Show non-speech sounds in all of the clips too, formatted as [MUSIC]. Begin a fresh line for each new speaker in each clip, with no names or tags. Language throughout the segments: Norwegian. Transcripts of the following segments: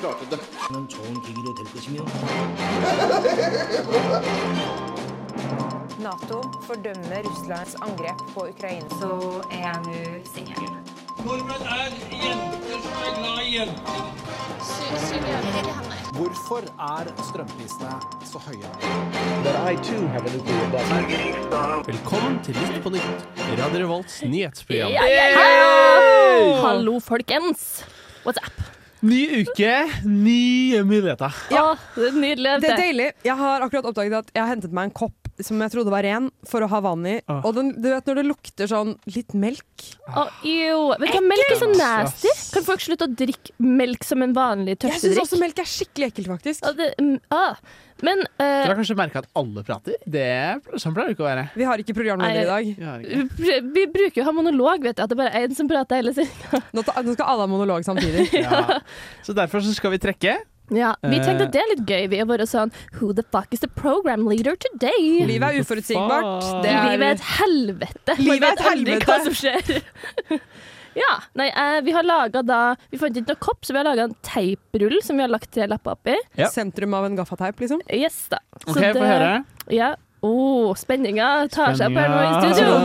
나왔다.
는 좋은 계기로 될 것이며
Nato fordømmer Russlands angrep på Ukraina.
så er jeg nå singel.
Nordmenn er jenter som er glad i jenter.
Hvorfor er strømprisene så høye?
Velkommen til Litt på nytt, Radio Revolts nyhetsprogram.
Ja, ja, ja. Hallo, folkens. What's up?
Ny uke, nye muligheter.
Ja, det er nydelig.
Det er deilig. Jeg har akkurat oppdaget at jeg har hentet meg en kopp som jeg trodde var ren, for å ha vann i.
Ah.
Og den, du vet når det lukter sånn litt melk?
Å, ew. Vet du hva, melk er så nasty. Kan folk slutte å drikke melk som en vanlig
Jeg syns
tørstedrikk?
også melk er skikkelig ekkelt, faktisk.
Å, det- mm, ah. Men eh,
Dere har kanskje merka at alle prater? Det, sånn pleier det ikke å være.
Vi har ikke programleder i dag.
Vi har ikke-
vi pr- eh, vi bruker jo å ha monolog, vet du. At det bare er én som prater hele tiden.
Nå, ta, nå skal alle ha monolog samtidig.
[LAUGHS]
Ja. Så derfor så skal vi trekke.
Ja, vi
Eh.
tenkte at det er litt gøy. Vi er bare sånn Who the fuck is the program leader today?
Livet er uforutsigbart.
Faen.
Det er,
Livet er et helvete. Man
Livet er et
vet aldri
helvete.
Hva som skjer. [LAUGHS] ja. Nei, eh, vi har laga da Vi fant ikke noe kopp, så vi har laga en teiprull som vi har lagt tre lapper oppi.
Ja.
Sentrum av en gaffateip, liksom.
Yes, da. Så
OK, få høre.
Ja. Oh, spenninga tar seg opp her nå i
Spenninga.
studio.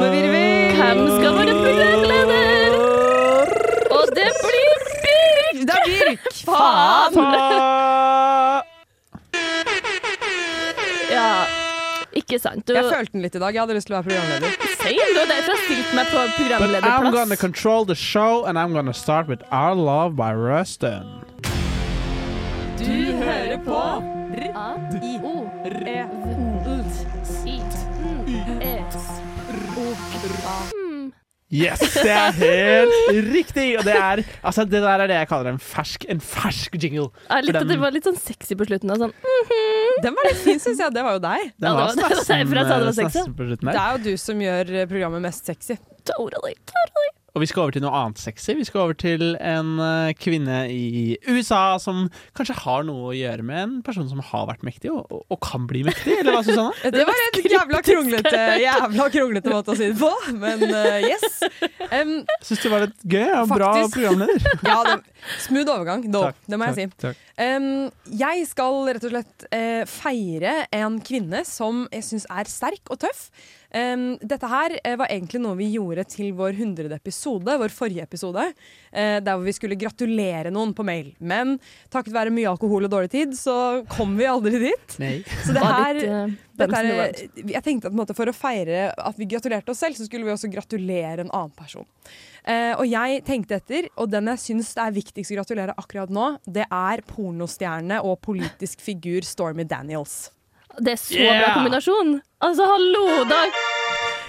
Hvem skal være programleder? Og det blir Birk!
Det er Birk!
[LAUGHS] Faen!
Ta-
Ja. Ikke sant. Du,
Jeg følte den litt i dag. Jeg hadde lyst til å være programleder.
same, du har derfor stilt meg på
But I'm gonna
programlederplass.
control the show, and I'm gonna start with Our Love by Rustin.
Du hører på E.
Yes, det er helt riktig! Og det er Altså, det der er det jeg kaller en fersk, en fersk jingle.
Jeg
For
likte at
den-
det var litt sånn sexy på slutten. Og sånn.
Den var litt fin, syns jeg. Det var jo deg.
Den
Ja, det
var
var- [LAUGHS] det var
snassen,
derfor jeg sa det var
eh,
sexy.
snassen på slutten
Det
her.
er jo du som gjør eh, programmet mest sexy.
Totally, totally.
Og vi skal over til noe annet sexy. Vi skal over til en eh, kvinne i USA som kanskje har noe å gjøre med en person som har vært mektig, og, og, og kan bli mektig, eller hva,
[LAUGHS]
Susanne?
Det var en jævla kronglete, jævla kronglete måte å si det på, men eh, yes. Em,
Syns du var litt gøy og bra
Faktisk.
programleder?
[LAUGHS]
ja, det, smooth overgang. Dope,
Takk,
det må jeg si.
takk, takk.
Em, jeg skal rett og slett eh, feire en kvinne som jeg syns er sterk og tøff. Em, dette her eh, var egentlig noe vi gjorde til vår 100. episode, vår forrige episode. eh, der hvor vi skulle gratulere noen på mail. Men takket være mye alkohol og dårlig tid, så kom vi aldri dit.
Nei.
Så det
Var
her
litt, eh,
dette
Bamsen
er, eh,
Around.
jeg tenkte at på en måte, For å feire at vi gratulerte oss selv, så skulle vi også gratulere en annen person. Eh, og jeg tenkte etter, og den jeg syns det er viktigst å gratulere akkurat nå, det er pornostjerne og politisk figur Stormy Daniels.
Det er så bra
Yeah!
kombinasjon. Altså, hallo, da.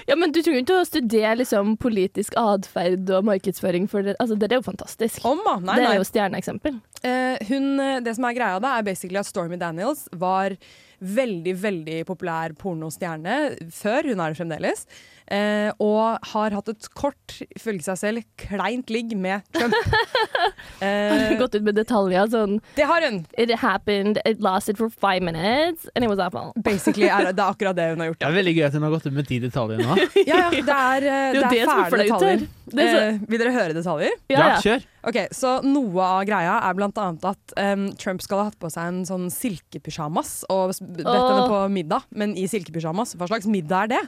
Ja, men du trenger jo ikke å studere liksom, politisk atferd og markedsføring for det. Altså, det er jo fantastisk.
Om, da! Nei,
det
nei.
er jo stjerneeksempel.
Eh, hun, eh, det som er greia da, er basically at Stormy Daniels var veldig, veldig populær pornostjerne før, hun er det fremdeles, eh, og har hatt et kort, ifølge seg selv, kleint ligg med [LAUGHS] Trump. Eh,
[LAUGHS] Gått ut med detaljer sånn
det har hun!
It happened, it lasted for five minutes, and it was awful.
Basically er, det er akkurat det hun har gjort.
Det er veldig gøy at hun har gått ut med de detaljene nå.
[LAUGHS] Ja, ja, det er,
Det
eh,
er jo
det
det
er
som er
fæle
flaut her.
detaljer.
Det er så-
Eh, vil dere høre detaljer?
[LAUGHS] Ja, ja.
kjør.
Ok, så Noe av greia er blant annet at em, Trump skal ha hatt på seg en sånn silkepysjamas og s- bedt henne
Åh.
på middag, men i silkepysjamas. Hva slags middag er det?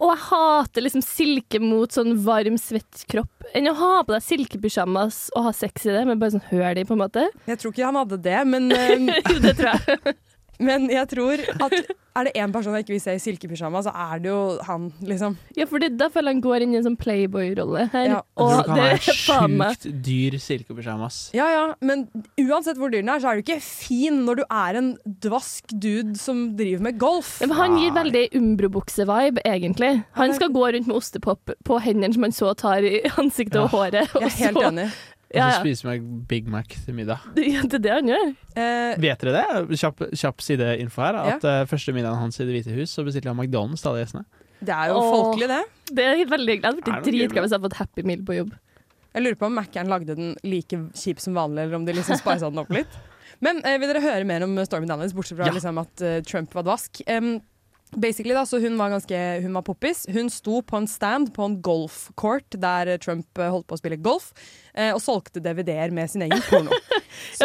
Og jeg hater liksom silke mot sånn varm, svett kropp. Enn å ha på deg silkepysjamas og ha sex i det, men bare sånn høl i, på en måte.
Jeg tror ikke han hadde det,
[LAUGHS]
men, em,
Jo, det tror jeg.
[LAUGHS] men jeg tror at er det én person jeg ikke vil se i silkepysjamas, så er det jo han, liksom.
Ja, for det, da føler jeg han går inn i en sånn playboy-rolle her.
Ja.
Jeg tror
Og
ikke han
det
er
er [LAUGHS] faen meg
sjukt dyr silkepysjamas.
Ja, ja, men uansett hvor dyr den er, så er du ikke fin når du er en dvask dude som driver med golf.
ja, men Han gir veldig Umbro-bukse-vibe, egentlig. Han skal gå rundt med ostepop på hendene som han så tar i ansiktet og håret.
Jeg er helt
og så,
enig.
Og
Ja,
så
ja.
spiser meg Big Mac til middag.
Ja, det er det han gjør.
Eh,
Vet dere det? Kjapp, kjapp sideinfo her. At eh, første middagen hans i Det hvite hus, så bestilte han McDonald's til alle gjestene.
Det er jo
Åh.
folkelig, det.
Det er veldig Jeg hadde
Er
blitt
det noe
dritglad hvis jeg hadde fått Happy Meal på jobb.
Jeg lurer på om Mac-eren lagde den like kjip som vanlig, eller om de liksom spisa den opp litt. Men eh, vil dere høre mer om Stormy Daniels, bortsett fra
Ja.
liksom, at eh, Trump var dvask? Em, Basically da, så Hun var ganske, hun var poppis. Hun sto på en stand på en golfcourt der eh, Trump eh, holdt på å spille golf, eh, og solgte DVD-er med sin egen porno. Så,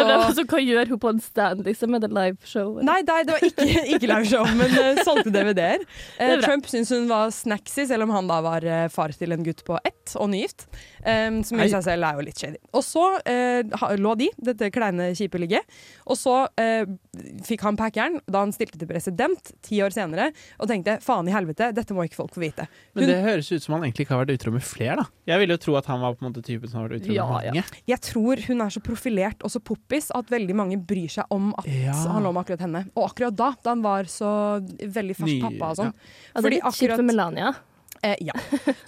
[LAUGHS] Ja, men altså, hva gjør hun på en stand liksom, med det liveshowet?
Nei, nei, det var ikke, ikke liveshow, men eh, solgte DVD-er. Eh,
Det er bra.
Trump syntes hun var snacksy, selv om han da var eh, far til en gutt på ett og nygift. eh, som i
Hei.
seg selv er jo litt shady. Og så eh, ha- lå de, dette kleine, kjipe ligget. Og så eh, fikk han packeren da han stilte til president ti år senere, og tenkte faen i helvete, dette må ikke folk få vite.
Men det høres ut som han egentlig ikke har vært utro med flere, da. Jeg ville jo tro at han var på en måte typen som har vært utro
Ja,
med mange.
Jeg tror hun er så profilert og så poppis at veldig mange bryr seg om at
Ja.
han lå med akkurat henne. Og akkurat da, da han var så veldig fersk
Ny-
pappa og sånn.
Altså, litt kjipt for Melania.
Eh, ja.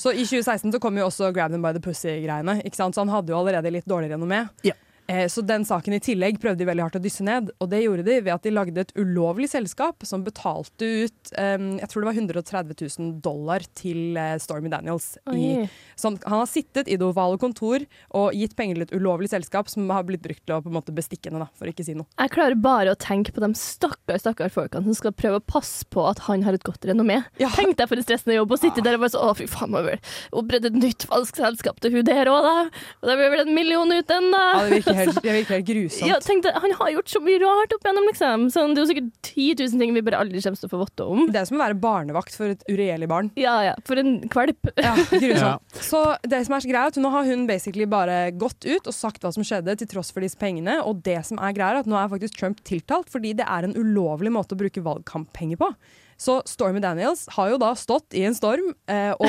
Så i 2016 så kom jo også Grab them by the pussy-greiene. ikke sant? Så han hadde jo allerede litt dårlig renommé.
Ja.
Eh, så den saken i tillegg prøvde de veldig hardt å dysse ned. Og det gjorde de ved at de lagde et ulovlig selskap som betalte ut eh, jeg tror det var 130 000 dollar til eh, Stormy Daniels. I,
Oi.
som, han har sittet i det ovale kontor og gitt penger til et ulovlig selskap som har blitt brukt til å på en måte bestikke henne, da, for ikke å si noe.
Jeg klarer bare å tenke på de stakkars stakkars folkene som skal prøve å passe på at han har et godt renommé.
Ja.
Tenk deg for en stressende jobb å sitte der og bare sånn Å, fy faen, må jeg vel opprette et nytt falskt selskap til hun der òg, da. Og da blir vel en million ut den, da.
Ja, det
[LAUGHS]
virker helt, det virker helt grusomt.
Ja, tenk deg, han har gjort så mye rart opp igjennom, liksom. Sånn, det er jo sikkert 10 000 ting vi bare aldri kommer til å få vite om.
Det er som å være barnevakt for et uregjerlig barn.
Ja ja, for en kvalp.
Ja,
Ja.
grusomt. Så det som er så greia er at nå har hun basically bare gått ut og sagt hva som skjedde, til tross for disse pengene. Og det som er greia er at nå er faktisk Trump tiltalt, fordi det er en ulovlig måte å bruke valgkamppenger på. Så Stormy Daniels har jo da stått i en storm, eh, og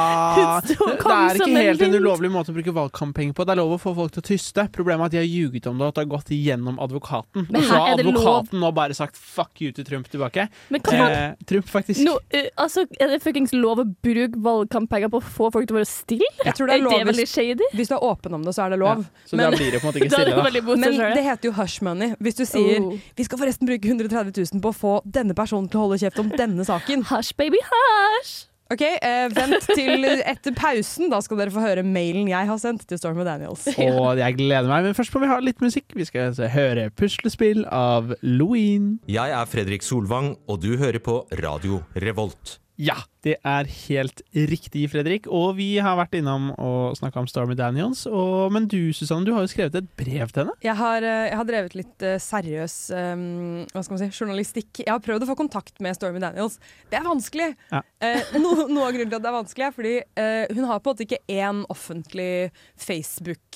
Ah, det
[LAUGHS] Hun sto-
det
kom
er
som
ikke
en
helt en
vind.
ulovlig måte å bruke valgkamppenger på. Det er lov å få folk til å tyste. Problemet er at de har ljuget om det, og at det har gått gjennom advokaten.
Men
Og så
her
har
er det lov.
advokaten nå bare sagt 'fuck you' til Trump tilbake.
Men kan man
Eh, Trump, faktisk.
nå, eh, altså, Er det fuckings lov å bruke valgkamppenger på å få folk til å være stille?
jeg tror det er lov
veldig
hvis,
shady?
hvis du er åpen om det, så er det
Ja,
lov.
Så
Men-
da blir det på en måte
[LAUGHS]
ikke
Da er det
stille, da.
veldig mot
Men
seg sjøl.
det heter jo hush money. Hvis du sier
Oh.
'vi skal forresten bruke 130 000 på å få denne personen til å holde kjeft om denne saken'.
Hasj, Oh. baby, hasj!
Ok, eh, Vent til etter pausen, da skal dere få høre mailen jeg har sendt til Stormy Daniels.
Og jeg gleder meg, men først må vi ha litt musikk. Vi skal altså høre puslespill av Louine.
Jeg er Fredrik Solvang, og du hører på Radio Revolt.
Ja, det er helt riktig, Fredrik. Og vi har vært innom og snakka om Stormy Daniels. Og, men du, Susanne, du har jo skrevet et brev til henne.
Jeg har, eh, jeg har drevet litt eh, seriøs eh, hva skal man si, journalistikk. Jeg har prøvd å få kontakt med Stormy Daniels. Det er vanskelig!
Ja.
Eh, no, noe av grunnen til at det er vanskelig, er fordi eh, hun har på en måte ikke én offentlig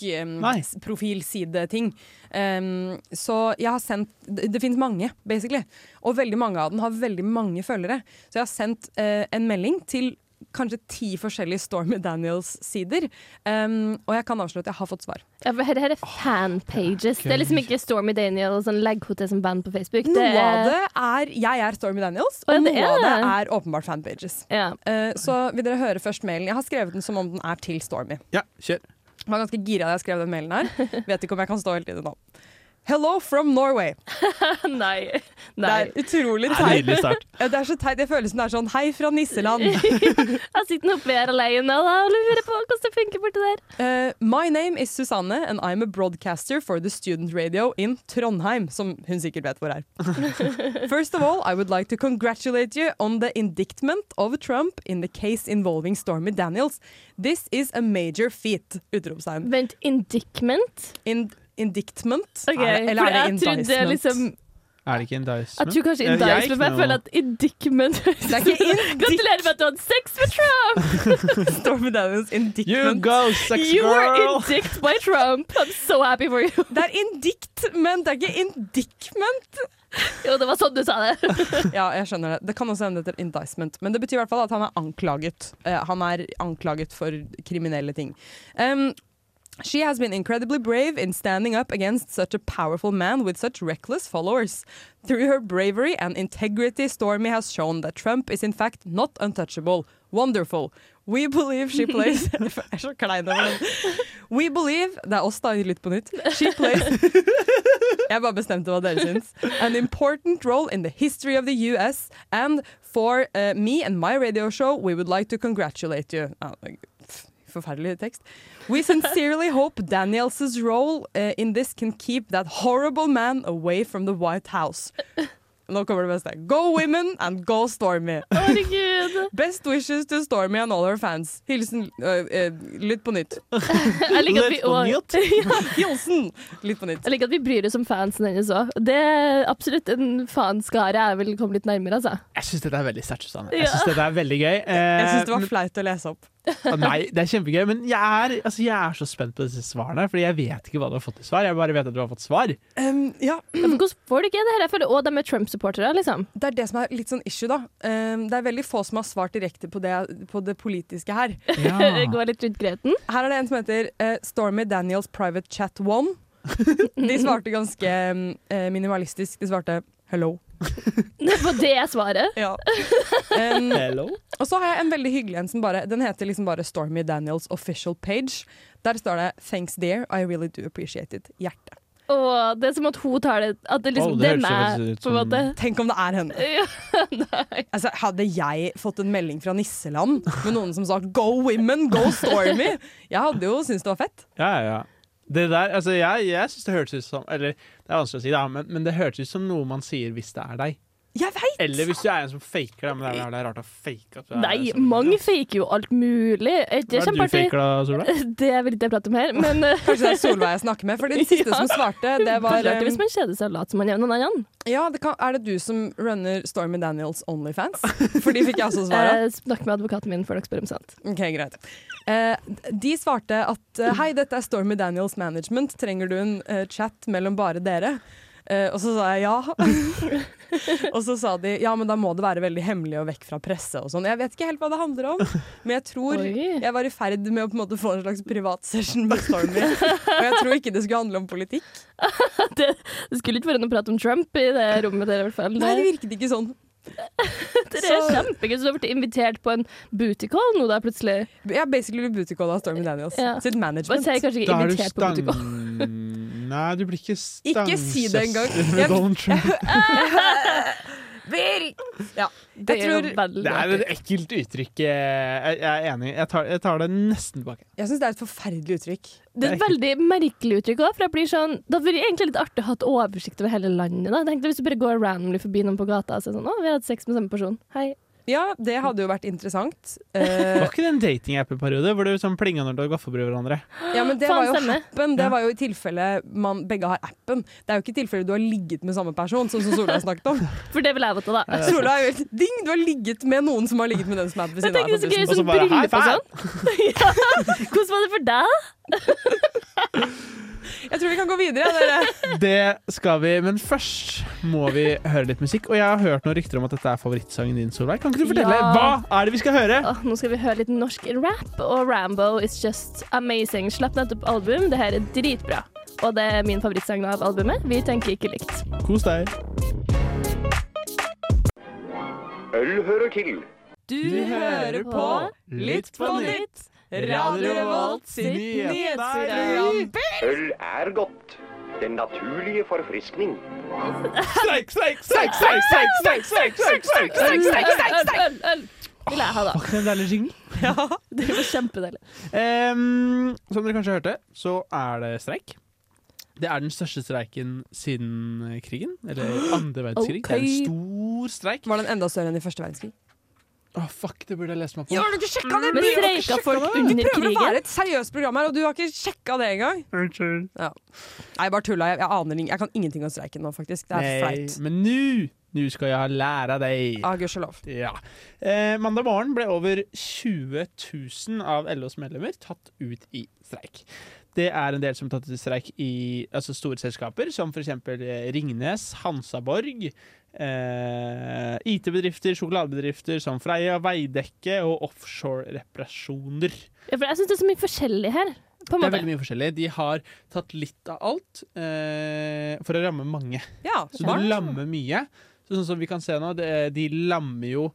ehm,
Nei.
Facebook-profilside-ting. Ehm, så jeg har sendt Det, det finnes mange, basically. Og veldig mange av dem har veldig mange følgere. Så jeg har sendt eh, en melding til kanskje ti forskjellige Stormy Daniels-sider. eh, og jeg kan avsløre at jeg har fått svar.
Ja, for her, her er fanpages. Det er liksom ikke Stormy Daniel og sånn legg henne til som band på Facebook.
Noe
er-
av det er Jeg er Stormy Daniels, og
Å, ja, det
noe av det
er.
er åpenbart fanpages.
Ja.
Eh, så vil dere høre først mailen. Jeg har skrevet den som om den er til Stormy.
Ja, kjør.
Jeg var ganske gira da jeg skrev den
[LAUGHS]
mailen her. Vet ikke om jeg kan stå helt i det nå. Hello from Norway.
[LAUGHS] Nei.
Det
Nei.
er utrolig
Det er en
teit.
nydelig start.
Ja, Det er så teit. Det føles som det er sånn Hei fra nisseland.
Jeg sitter nå oppe her alene og da lurer på hvordan det funker borti der.
Eh, my name is Susanne, and I'm a broadcaster for the student radio in Trondheim, som hun sikkert vet hvor
[LAUGHS]
er. First of all, I would like to congratulate you on the indictment of Trump in the case involving Stormy Daniels. This is a major feat! Utropstegn.
Vent, indictment?
In indictment?
Ok,
Er det- eller
for
er det
jeg trodde
indictment?
liksom
Er det ikke
Jeg
indicement?
tror kanskje
Jeg- jeg er
indictment,
ikke
men jeg
noe-
føler at indictment
[LAUGHS]
Det er ikke
Gratulerer med at du hadde sex med Trump!
[LAUGHS] Stormy Daniels
You
indictment.
go, sex
You were
girl!
indict by Trump! I'm so happy for you!
Det er indictment, det er ikke indictment!
[LAUGHS] Jo, det var sånn du sa det.
[LAUGHS] Ja, jeg skjønner det. Det kan også hende det heter indictment, men det betyr i hvert fall at han er anklaget. Eh, han er anklaget for kriminelle ting. Um, She has been incredibly brave in standing up against such a powerful man with such reckless followers. Through her bravery and integrity, Stormy has shown that Trump is in fact not untouchable. Wonderful. We believe she plays [LAUGHS] Jeg er så klein over den. We believe Det er oss, da. Litt på nytt. She plays jeg bare bestemte hva dere syns. An important role in the history of the US and for uh, me and my radio show, we would like to congratulate you. Ah, pff, Forferdelig tekst. We sincerely hope Daniels' role uh, in this can keep that horrible man away from the White House. Nå kommer det beste. Go women and go Stormy.
Herregud.
Best wishes to Stormy and all her fans. Hilsen øh, øh, Lytt på nytt.
Jeg liker at vi,
Litt på nytt.
[LAUGHS] Ja,
Hilsen Lytt på nytt.
jeg liker at vi bryr oss om fansen hennes òg. Det er absolutt en fanskare jeg vil komme litt nærmere, altså.
Jeg syns dette er veldig sterkt, Susanne.
Ja.
Jeg synes dette er veldig gøy.
Jeg
Eh,
syns det var flaut å lese opp.
men- Nei, det er kjempegøy, men jeg er, altså, jeg er så spent på disse svarene. Fordi jeg vet ikke hva du har fått til svar. Jeg bare vet at du har fått svar.
Um, ja,
Ja, for Hvordan får du ikke det her? Jeg føler òg de er Trump-supportere, liksom.
Det er det som er litt sånn issue, da. Um, det er veldig få som har svart direkte på det, på det politiske her.
[LAUGHS]
Ah.
Det Går litt rundt grøten. [LAUGHS]
Her er det en som heter eh, Stormy Daniels Private Chat 1. De svarte ganske um, eh, minimalistisk. De svarte 'hello'.
Og det er svaret.
Ja. Um,
Hello?
og så har jeg en veldig hyggelig en som bare Den heter liksom bare Stormy Daniels Official Page. Der står det 'Thanks dear, I really do appreciate it'. Hjerte.
Og det er som at hun tar det At det liksom
Å, det
Det er
høres jo
meg,
faktisk
på
ut
en
som-
måte.
Tenk om det er henne.
Ja, nei.
Altså, hadde jeg fått en melding fra Nisseland med noen som sa 'Go women, go Stormy', jeg hadde jo syntes det var fett.
Ja, ja, ja. Det der, altså, jeg jeg syns det hørtes ut som Eller det er vanskelig å si, da, men, men det hørtes ut som noe man sier hvis det er deg.
Jeg veit!
Eller hvis du er en som faker det. Men det er, det er rart å fake at du er
Nei,
sånn.
mange faker jo alt mulig. Det er
Hva er det du
kjempeartig.
faker da, Sola?
[LAUGHS] Det vil ikke jeg prate om her, men eh,
Kanskje det er Solveig jeg snakker med. For den siste
[LAUGHS] Ja.
som svarte, [LAUGHS] det var
kanskje det er hvis
um,
man kjeder seg og later som man er noen annen.
Ja, det kan, er det du som runner Stormy Daniels Onlyfans? For de fikk jeg også
[LAUGHS]
svare.
Eh, Snakk med advokaten min før dere spør om sant.
Ok, greit. Eh, de svarte at eh, hei, dette er Stormy Daniels Management, trenger du en eh, chat mellom bare dere? Eh, og så sa jeg ja.
[LAUGHS]
og så sa de ja, men da må det være veldig hemmelig og vekk fra presse og sånn. Jeg vet ikke helt hva det handler om, men jeg tror
Oi.
jeg var i ferd med å på en måte få en slags privat session med Stormy. og jeg tror ikke det skulle handle om politikk.
Det, det skulle ikke være noe prat om Trump i det rommet der, i hvert fall.
Nei, det virket ikke
[LAUGHS]
sånn.
Det er
så-
kjempegøy. Så du har blitt invitert på en booty call nå, da, plutselig.
Jeg basically blir bootycalla av Stormy Daniels.
Ja.
Sitt
Man
management.
sier kanskje ikke
Da er du
invitert på
stang...
booty call.
[LAUGHS] Nei, du blir ikke
Ikke si det engang.
stangsøster [LAUGHS] med
Jeg-
Donald Trump.
Ja.
Det
Jeg,
er jo
tror-
veldig
Det er
artig.
et ekkelt uttrykk. eh, Jeg jeg er enig. Jeg tar, jeg tar det nesten tilbake.
jeg syns det er et forferdelig uttrykk.
Det er et veldig merkelig uttrykk òg, for jeg blir sånn Det hadde vært egentlig litt artig å ha et oversikt over hele landet, da. Jeg tenkte hvis du bare går randomly forbi noen på gata og sier sånn Å, vi har hatt sex med samme person. Hei.
Ja, det hadde jo vært interessant.
Var
Eh,
ikke det en datingapp-periode hvor du sånn plinga når du hadde gaffabrød hverandre?
ja, men det
Faen,
var jo
stemmer.
appen.
Ja.
Det var jo i tilfelle man begge har appen. Det er jo ikke i tilfelle du har ligget med samme person, sånn som Solveig snakket [LAUGHS] om.
For det vil jeg vite, da.
Solveig er jo helt ding! Du har ligget med noen som har ligget med den som er ved
Jeg
siden av
tenker
deg.
det er
på
så gøy
Og så
sånn
bare, high
bryllup og sånn. [LAUGHS] ja. Hvordan var det for deg?
bussen. Jeg tror vi kan gå videre, ja, dere.
Det skal vi, men først må vi høre litt musikk. Og jeg har hørt noen rykter om at dette er favorittsangen din, Solveig. Kan ikke du fortelle?
Ja.
Hva er det vi skal høre?
Åh, nå skal vi høre litt norsk rap, og Rambo is just amazing. Slapp nettopp album, det her er dritbra. Og det er min favorittsang av albumet. Vi tenker ikke likt.
Kos deg.
Øl hører til.
Du
hører på
Lytt på nytt.
Radio Revolt
sitt
nyhetsprogram.
Øl er godt. Den naturlige forfriskning.
Streik, streik, streik, streik, streik, streik, streik, streik, streik, streik, streik.
Øl, øl, øl. Vil jeg ha, da.
Var ikke det en deilig jingle?
Det var kjempedeilig.
Ehm, som dere kanskje hørte, så er det streik. Det er den største streiken siden krigen. Eller andre verdenskrig. Det er en
Ok.
stor streik.
Var den enda større enn i første verdenskrig?
Å, fuck, det burde jeg lese meg
Ja,
på.
har du ikke sjekka det?
Men
Vi
streika folk
prøver
under
å være
krigen?
et seriøst program her, og du har ikke sjekka det engang.
Unnskyld.
Nei, bare tulla. Jeg, jeg aner ing- Jeg kan ingenting om streiken nå, faktisk. Det er
Nei,
flaut.
men nå Nå skal jeg lære deg.
Ah, gudskjelov.
Ja. Eh, mandag morgen ble over 20 000 av LOs medlemmer tatt ut i streik. Det er en del som tatt ut i streik i altså store selskaper, som f.eks. Ringnes, Hansaborg, eh, IT-bedrifter, sjokoladebedrifter som Freia, Veidekke og offshore-reparasjoner.
Ja, for jeg syns det er så mye forskjellig her. På en
Det er
måte.
veldig mye forskjellig. De har tatt litt av alt eh, for å ramme mange.
Ja,
Så
smart.
du lammer mye. Så sånn som vi kan se nå, det, de lammer jo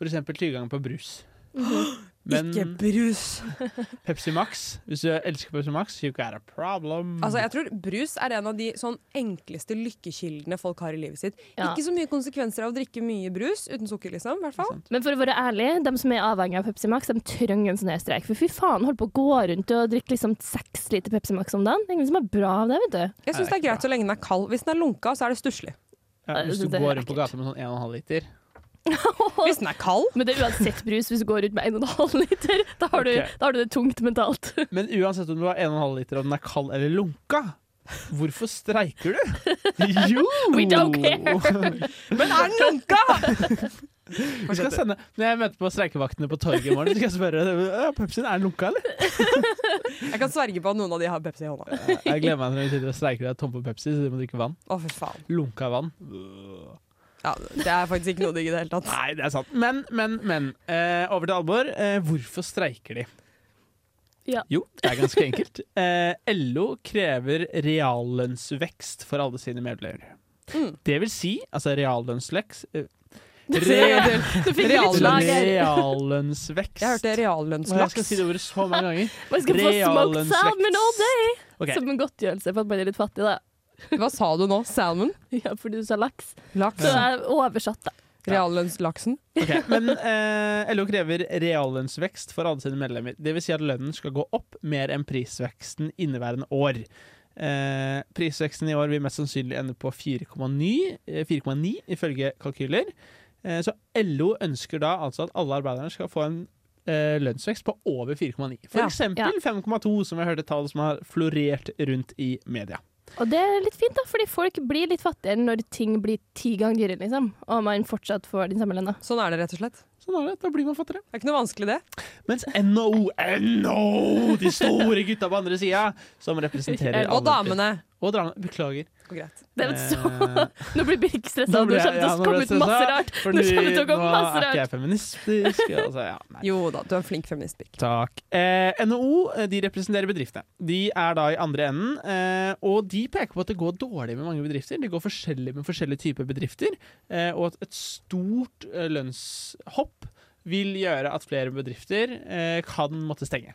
f.eks. tilgang
[GASPS]
på brus. Men
Ikke brus.
Pepsi Max, hvis du elsker Pepsi Max, you got a problem.
Altså, jeg tror brus er en av de sånn enkleste lykkekildene folk har i livet sitt.
Ja.
Ikke så mye konsekvenser av å drikke mye brus uten sukker, liksom. i Hvert fall.
Men for å være ærlig, de som er avhengig av Pepsi Max, de trenger en sånn her streik. For fy faen, holdt på å gå rundt og drikke liksom seks
[LAUGHS]
liter Pepsi Max om dagen. Det er ingen som er bra av det, vet du.
Jeg syns det er greit så lenge den er kald. Hvis den er lunka, så er det stusslig.
Ja,
Nei,
hvis
det-
du
det er
går rundt på
ekkelt.
gata med sånn 1,5 liter.
Hvis den er kald.
Men det er uansett brus hvis du går ut med 1,5 liter. Da har, du,
Ok.
da har du det tungt mentalt. [LAUGHS]
Men uansett om du har 1,5 liter og den er kald eller lunka, hvorfor streiker du?
[LAUGHS]
Jo!
We don't care.
Men er den lunka?!
Vi skal sende, når jeg møter på streikevaktene på torget i morgen, så skal jeg spørre «Ja, Pepsien er den lunka, eller?
Jeg kan sverge på at noen av de har Pepsi i hånda.
Jeg gleder meg når vi sitter og streiker og er tom for Pepsi, så de må drikke vann.
Å, fy faen.
Lunka vann.
Ja, det er faktisk ikke noe digg i det hele tatt.
Nei, det er sant. Men, men, men. Eh, over til alvor. Eh, hvorfor streiker de?
Ja.
Jo, det er ganske enkelt. [LAUGHS] Eh, LO krever reallønnsvekst for alle sine medlemmer.
Mm.
Det vil si, altså reallønnsvekst eh,
Re-
Du fikk litt slag her.
Reallønnsvekst.
Jeg hørte
Åh, jeg skal
reallønnslaks.
si det ordet så mange ganger.
Man skal få smoked salmon all day.
Ok,
Som en godtgjørelse for at man er litt fattig, da.
Hva sa du nå? Salmon?
Ja, fordi du sa laks.
Laks?
Så jeg er oversatt, da.
Reallønnslaksen?
ok. Men eh, LO krever reallønnsvekst for alle sine medlemmer. Det vil si at lønnen skal gå opp mer enn prisveksten inneværende år. Eh, prisveksten i år vil mest sannsynlig ende på 4,9 eh, 4,9 ifølge kalkyler. Eh, så LO ønsker da altså at alle arbeiderne skal få en eh, lønnsvekst på over 4,9. For
Ja.
Ja.
eksempel 5,2, som jeg hørte tall som har florert rundt i media.
Og det er litt fint, da, fordi folk blir litt fattigere når ting blir ti ganger dyrere, liksom. Og man fortsatt får den samme lønna.
Sånn er det, rett og slett.
Sånn er det. Da blir man fattigere.
Det er ikke noe vanskelig, det.
Mens NO, NO, de store gutta på andre sida, som representerer
Og
alle-
damene.
Og damene. Beklager.
Går greit.
Det er så
Eh,
[LAUGHS] Nå blir Birk stressa,
nå
nå
ble
kommer
jeg-
det
ja,
til å
nå ble
komme
jeg
ut masse
stressa,
rart.
fordi
Nå kommer det til å komme
nå
masse
er ikke jeg
rart.
feministisk. Altså, ja, nei.
Jo da, du er en flink feminist, Birk.
Takk. Eh, NHO eh, de representerer bedriftene. De er da i andre enden, eh, og de peker på at det går dårlig med mange bedrifter. Det går forskjellig med forskjellige typer bedrifter, eh, og at et stort eh, lønnshopp vil gjøre at flere bedrifter eh, kan måtte stenge.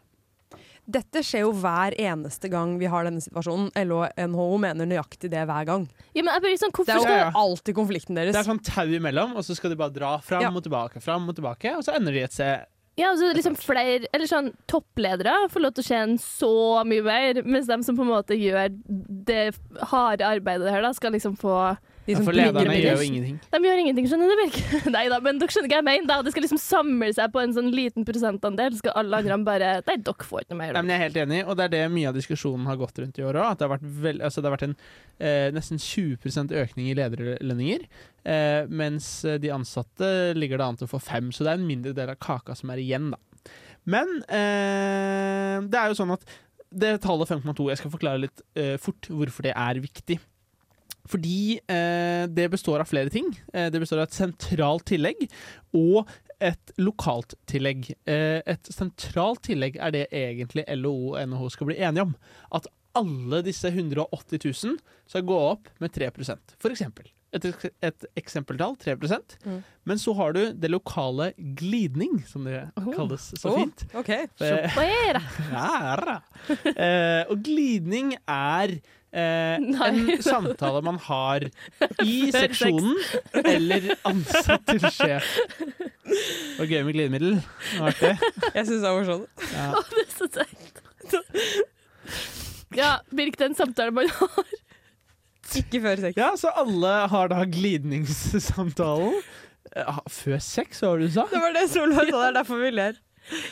Dette skjer jo hver eneste gang vi har denne situasjonen. LO og NHO mener nøyaktig det hver gang.
Ja, men jeg blir sånn,
Det er
hvorfor
jo
Ja, ja.
alltid konflikten
Det
deres.
er sånn tau imellom, og så skal de bare dra fram
Ja.
og tilbake, fram og tilbake, og så ender de et sted.
Ja, altså liksom flere, eller sånn Toppledere får lov til å tjene så mye mer, mens de som på en måte gjør det harde arbeidet her, da, skal liksom få
De som
sånn- For
plugger
lederne
med
gjør jo
det.
ingenting.
De gjør ingenting, skjønner du, Birk? [LAUGHS] Nei da, men dere skjønner hva jeg mener. da. Det skal liksom samle seg på en sånn liten prosentandel, så skal alle andre bare Nei, dere får ikke noe mer.
Nei,
da.
men jeg er helt enig, og det er det mye av diskusjonen har gått rundt i år òg. At det har vært, vel, altså det har vært en eh, nesten 20 økning i lederlønninger. Eh, mens eh, de ansatte ligger det an til å få fem, så det er en mindre del av kaka som er igjen, da. Men eh, det er jo sånn at det tallet 5,2 Jeg skal forklare litt eh, fort hvorfor det er viktig. Fordi eh, det består av flere ting. Eh, det består av et sentralt tillegg og et lokalt tillegg. Eh, et sentralt tillegg er det egentlig LO og NHO skal bli enige om. At alle disse 180 000 skal gå opp med 3 for eksempel. Et, eks- et eksempeltall, 3
Mm.
Men så har du det lokale glidning, som det
Oh.
kalles så
Oh.
fint.
Ok.
Eh,
Hva er det?
Æra. Eh, og glidning er
[LAUGHS]
eh, en
Nei.
samtale man har i seksjonen eller ansatt til sjef. Det var gøy med glidemiddel. Det var artig.
Jeg syns det er morsomt.
Å, det er
[LAUGHS]
så teit. Ja, Birk, den samtalen man har
Ikke før sex.
Ja, så alle har da glidningssamtalen. Eh, Før sex, hva var det du sa?
Det var det Solveig sa, det er derfor vi ler.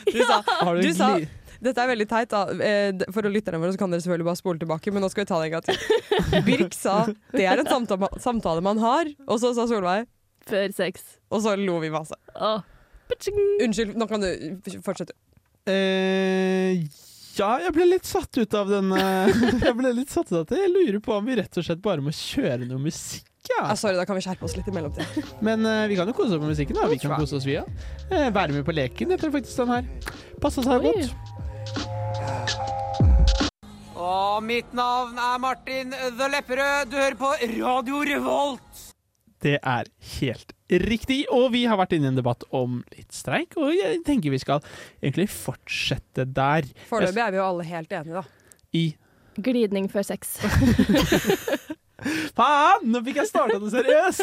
Du sa
Har
Du sa-
gli-
Dette er veldig teit, da. Eh, d- For lytterne våre så kan dere selvfølgelig bare spole tilbake, men nå skal vi ta det en gang til. [LAUGHS] Birk sa det er en samtale, samtale man har, og så sa Solveig
før sex.
og så lo vi masse.
Å, paching.
Unnskyld, nå kan du fortsette.
Eh, ja, jeg ble litt satt ut av denne [LAUGHS] Jeg ble litt satt ut av det. Jeg lurer på om vi rett og slett bare må kjøre noe musikk. Ja.
Ja, Ah, sorry, da kan vi skjerpe oss litt i mellomtiden.
Men eh, vi kan jo kose oss med musikken. da Vi kan kose oss vi òg. Eh, være med på leken heter faktisk den her. Passa seg
Oi.
godt.
Og mitt navn er Martin The Lepperød. Du hører på Radio Revolt.
Det er helt riktig. Og vi har vært inne i en debatt om litt streik, og jeg tenker vi skal egentlig fortsette der.
Foreløpig er vi jo alle helt enige, da.
I
Glidning før sex.
Faen! Nå fikk jeg starta det seriøst!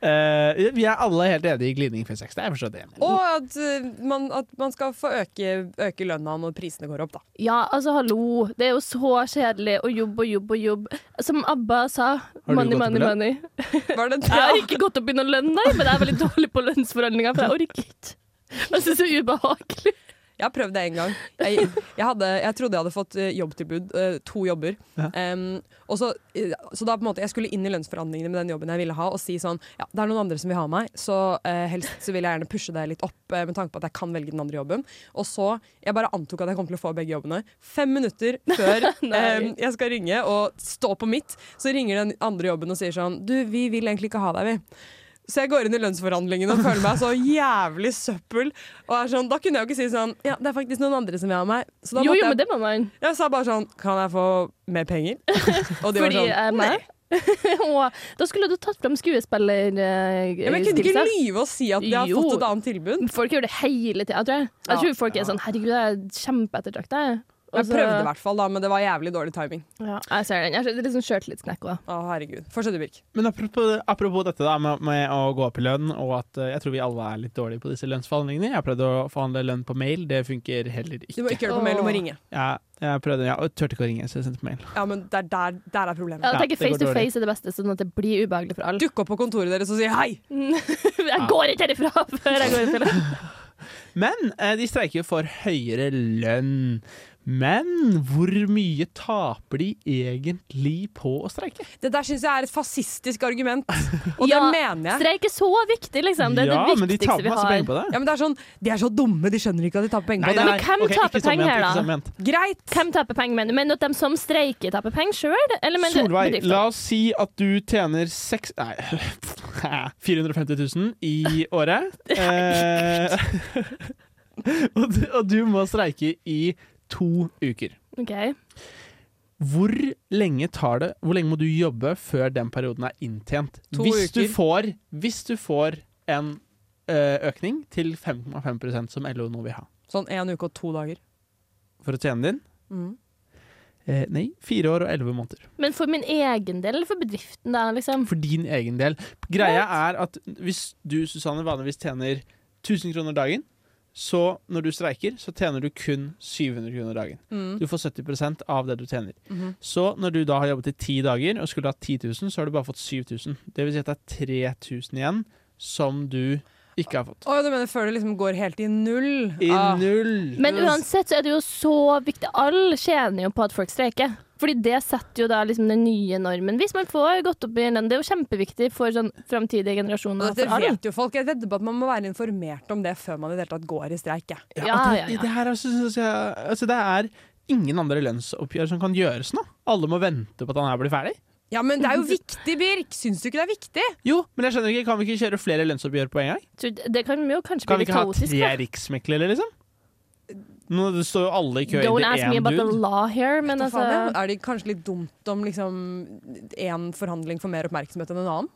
Eh, vi er alle helt enige i glidning 56. Det er forstått det.
Og at eh, man, at man skal få øke, øke lønna når prisene går opp, da.
Ja, altså hallo. Det er jo så kjedelig å jobbe og jobbe og jobbe. Som ABBA sa,
du
money,
gått opp i
money,
lønn?
money.
Var det det?
Jeg har ikke gått opp i noen lønn, nei, men jeg er veldig dårlig på lønnsforhandlinger, for jeg orker ikke. Jeg synes det er ubehagelig.
Jeg har prøvd det en gang. Jeg, jeg, hadde, jeg trodde jeg hadde fått eh, jobbtilbud. eh, to jobber. Em, og så, eh, så da på en måte jeg skulle inn i lønnsforhandlingene med den jobben jeg ville ha, og si sånn Ja, det er noen andre som vil ha meg, så eh, helst så vil jeg gjerne pushe deg litt opp, eh, med tanke på at jeg kan velge den andre jobben. Og så Jeg bare antok at jeg kom til å få begge jobbene. Fem
[LAUGHS]
minutter før
Nei.
em, jeg skal ringe og stå på mitt, så ringer den andre jobben og sier sånn Du, vi vil egentlig ikke ha deg, vi. Så jeg går inn i lønnsforhandlingene og føler meg så jævlig søppel. Og er sånn, Da kunne jeg jo ikke si sånn Ja, det er faktisk noen andre som vil ha meg. Så da
Jo,
måtte
jo, men
jeg,
det må man.
jeg sa bare sånn Kan jeg få mer
[LAUGHS]
penger? Og de var
Fordi eh,
sånn
jeg er
Nei.
meg. [LAUGHS] Og da skulle du tatt fram eh,
Ja, men jeg kunne ikke
skuespillerskilsa.
lyve og si at jeg har
Jo.
fått et annet tilbud.
Folk gjør det hele tida, tror jeg. Jeg tror folk er sånn Herregud, jeg er kjempeettertrakta. jeg». Og
Jeg
så-
prøvde i hvert fall, da, men det var jævlig dårlig timing.
Ja, jeg ser den. Jeg ser- Det er litt sånn sjøltillitsknekk òg.
Å, herregud. Fortsett du, Birk.
Men apropos, apropos dette da, med, med å gå opp i lønn, og at eh, jeg tror vi alle er litt dårlige på disse lønnsforhandlingene. Jeg har prøvd å forhandle lønn på mail, det funker heller
Du må
ikke.
ikke gjøre det på mail, du må
Åh.
ringe.
Jeg, jeg prøvde, ja, og turte ikke å ringe, så jeg sendte mail.
Ja, men der, der, der er problemet.
Jeg
Ja,
tenker
det går
face to
dårlig.
face er det beste, sånn at det blir ubehagelig for alle.
Dukk opp på kontoret deres og si hei!
[LAUGHS] Jeg går ikke herifra [LAUGHS] før jeg går ut i lønn.
Men eh, de streiker jo for høyere lønn. Men hvor mye taper de egentlig på å streike?
Det der syns jeg er et fascistisk
[LAUGHS]
argument, og
Ja,
det mener jeg.
Streik er så viktig, liksom. Det er
ja,
det
men de
viktigste
taper
vi
masse
har.
penger på det.
Ja, men det er sånn, De er så dumme, de skjønner ikke at de taper penger på det.
men hvem
ok, ikke
taper
sånn
penger
ment,
da?
ikke sånn ment.
Greit!
Hvem taper penger, mener du? Men at de som streiker, taper penger sjøl? Eller mener du
Solveig,
bedriften?
la oss si at du tjener seks Nei, [LAUGHS] 450 000 i
[LAUGHS]
året. Eh, [LAUGHS] og, du, og du må streike i to uker.
Ok.
Hvor lenge tar det Hvor lenge må du jobbe før den perioden er inntjent?
To
hvis
uker.
Du får, hvis du får en eh, økning til 5,5 som LO nå vil ha
Sånn én uke og to dager.
for å tjene din?
Mm.
Eh, nei, fire år og elleve måneder.
Men for min egen del, eller for bedriften, da? liksom?
for din egen del. Greia er at hvis du, Susanne, vanligvis tjener 1000 kroner dagen, så når du streiker, så tjener du kun 700 kroner dagen.
Mm.
Du får 70 av det du tjener.
Mm-hmm.
Så når du da har jobbet i ti dager og skulle ha 10 000, så har du bare fått 7000. Det vil si at det er 3000 igjen som du ikke har fått.
Å, ja, du mener før det liksom går helt i null?
I
Ah.
null!
Men uansett så er det jo så viktig. Alle tjener jo på at folk streiker. Fordi det setter jo da liksom den nye normen. Hvis man får gått opp i lønn, det er jo kjempeviktig for sånn framtidige generasjoner.
Og dette
For alle.
vet jo folk. Jeg vedder på at man må være informert om det før man i det hele tatt går i streik. jeg.
Ja,
Ja,
det,
ja, ja.
det her er, synes jeg, altså, det er ingen andre lønnsoppgjør som kan gjøres nå. Alle må vente på at han her blir ferdig.
Ja, men [LAUGHS] det er jo viktig, Birk! Syns du ikke det er viktig?
Jo, men jeg skjønner ikke, kan vi ikke kjøre flere lønnsoppgjør på en gang?
Så Det kan jo kanskje
Kan
bli litt
vi ikke ha
kaotisk.
tre
da.
riksmeklere, liksom? Nå det står jo alle i kø
Don't
inn
ask
til
me
én
about the
dude.
law here, men
Da faen, ja.
altså
Er det kanskje litt dumt om liksom én forhandling får mer oppmerksomhet enn en annen?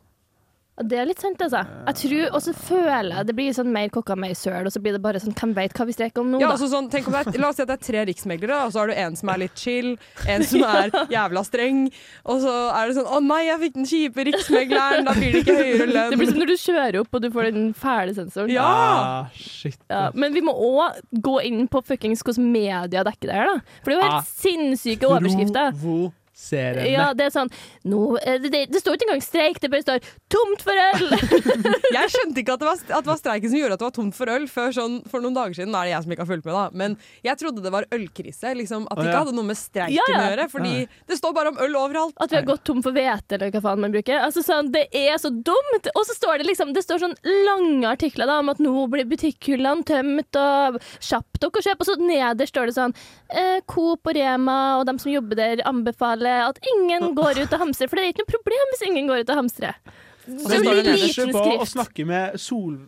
Det er litt sant, altså. Jeg
Eh.
tror, Og så føler jeg det blir sånn mer kokka mer søl, og så blir det bare sånn Hvem veit hva vi streker om nå,
Ja,
da?
altså sånn, tenk om det er, La oss si at det er tre riksmeglere, og så har du en som er litt chill, en [LAUGHS] som er jævla streng, og så er det sånn 'Å nei, jeg fikk den kjipe riksmegleren', da blir [LAUGHS] sånn- det ikke høyere
Det blir
lønn.
som når du kjører opp og du får den fæle sensoren.
Ja!
Ah, shit.
Ja, men vi må òg gå inn på fuckings hvordan media dekker det her, da. For det er jo helt
Ah.
sinnssyke overskrifter.
Provoserende.
Ja, det er sånn nå, eh, det, det, det står ikke engang streik, det bare står 'tomt for øl'! [LAUGHS]
Jeg skjønte ikke at det, var, at det var streiken som gjorde at det var tomt for øl før sånn, for noen dager siden. Nå er det jeg som ikke har fulgt med, da. Men jeg trodde det var ølkrise. Liksom, at det
Å,
ikke
ja.
hadde noe med streiken
Ja, ja.
å gjøre. Fordi
Nei.
det står bare om øl overalt.
At vi har gått tom for hvete, eller hva faen man bruker. Altså sånn, Det er så dumt! Og så står det liksom Det står sånn lange artikler da om at nå blir butikkhyllene tømt, og kjapp dere og kjøp. Og så nederst står det sånn eh, Coop og Rema og dem som jobber der, anbefaler at ingen går ut og hamstrer. For det er ikke noe problem hvis ingen går ut og hamstrer.
Og
Så
så står det
liten
nederst på å
skrift.
snakke med Sol...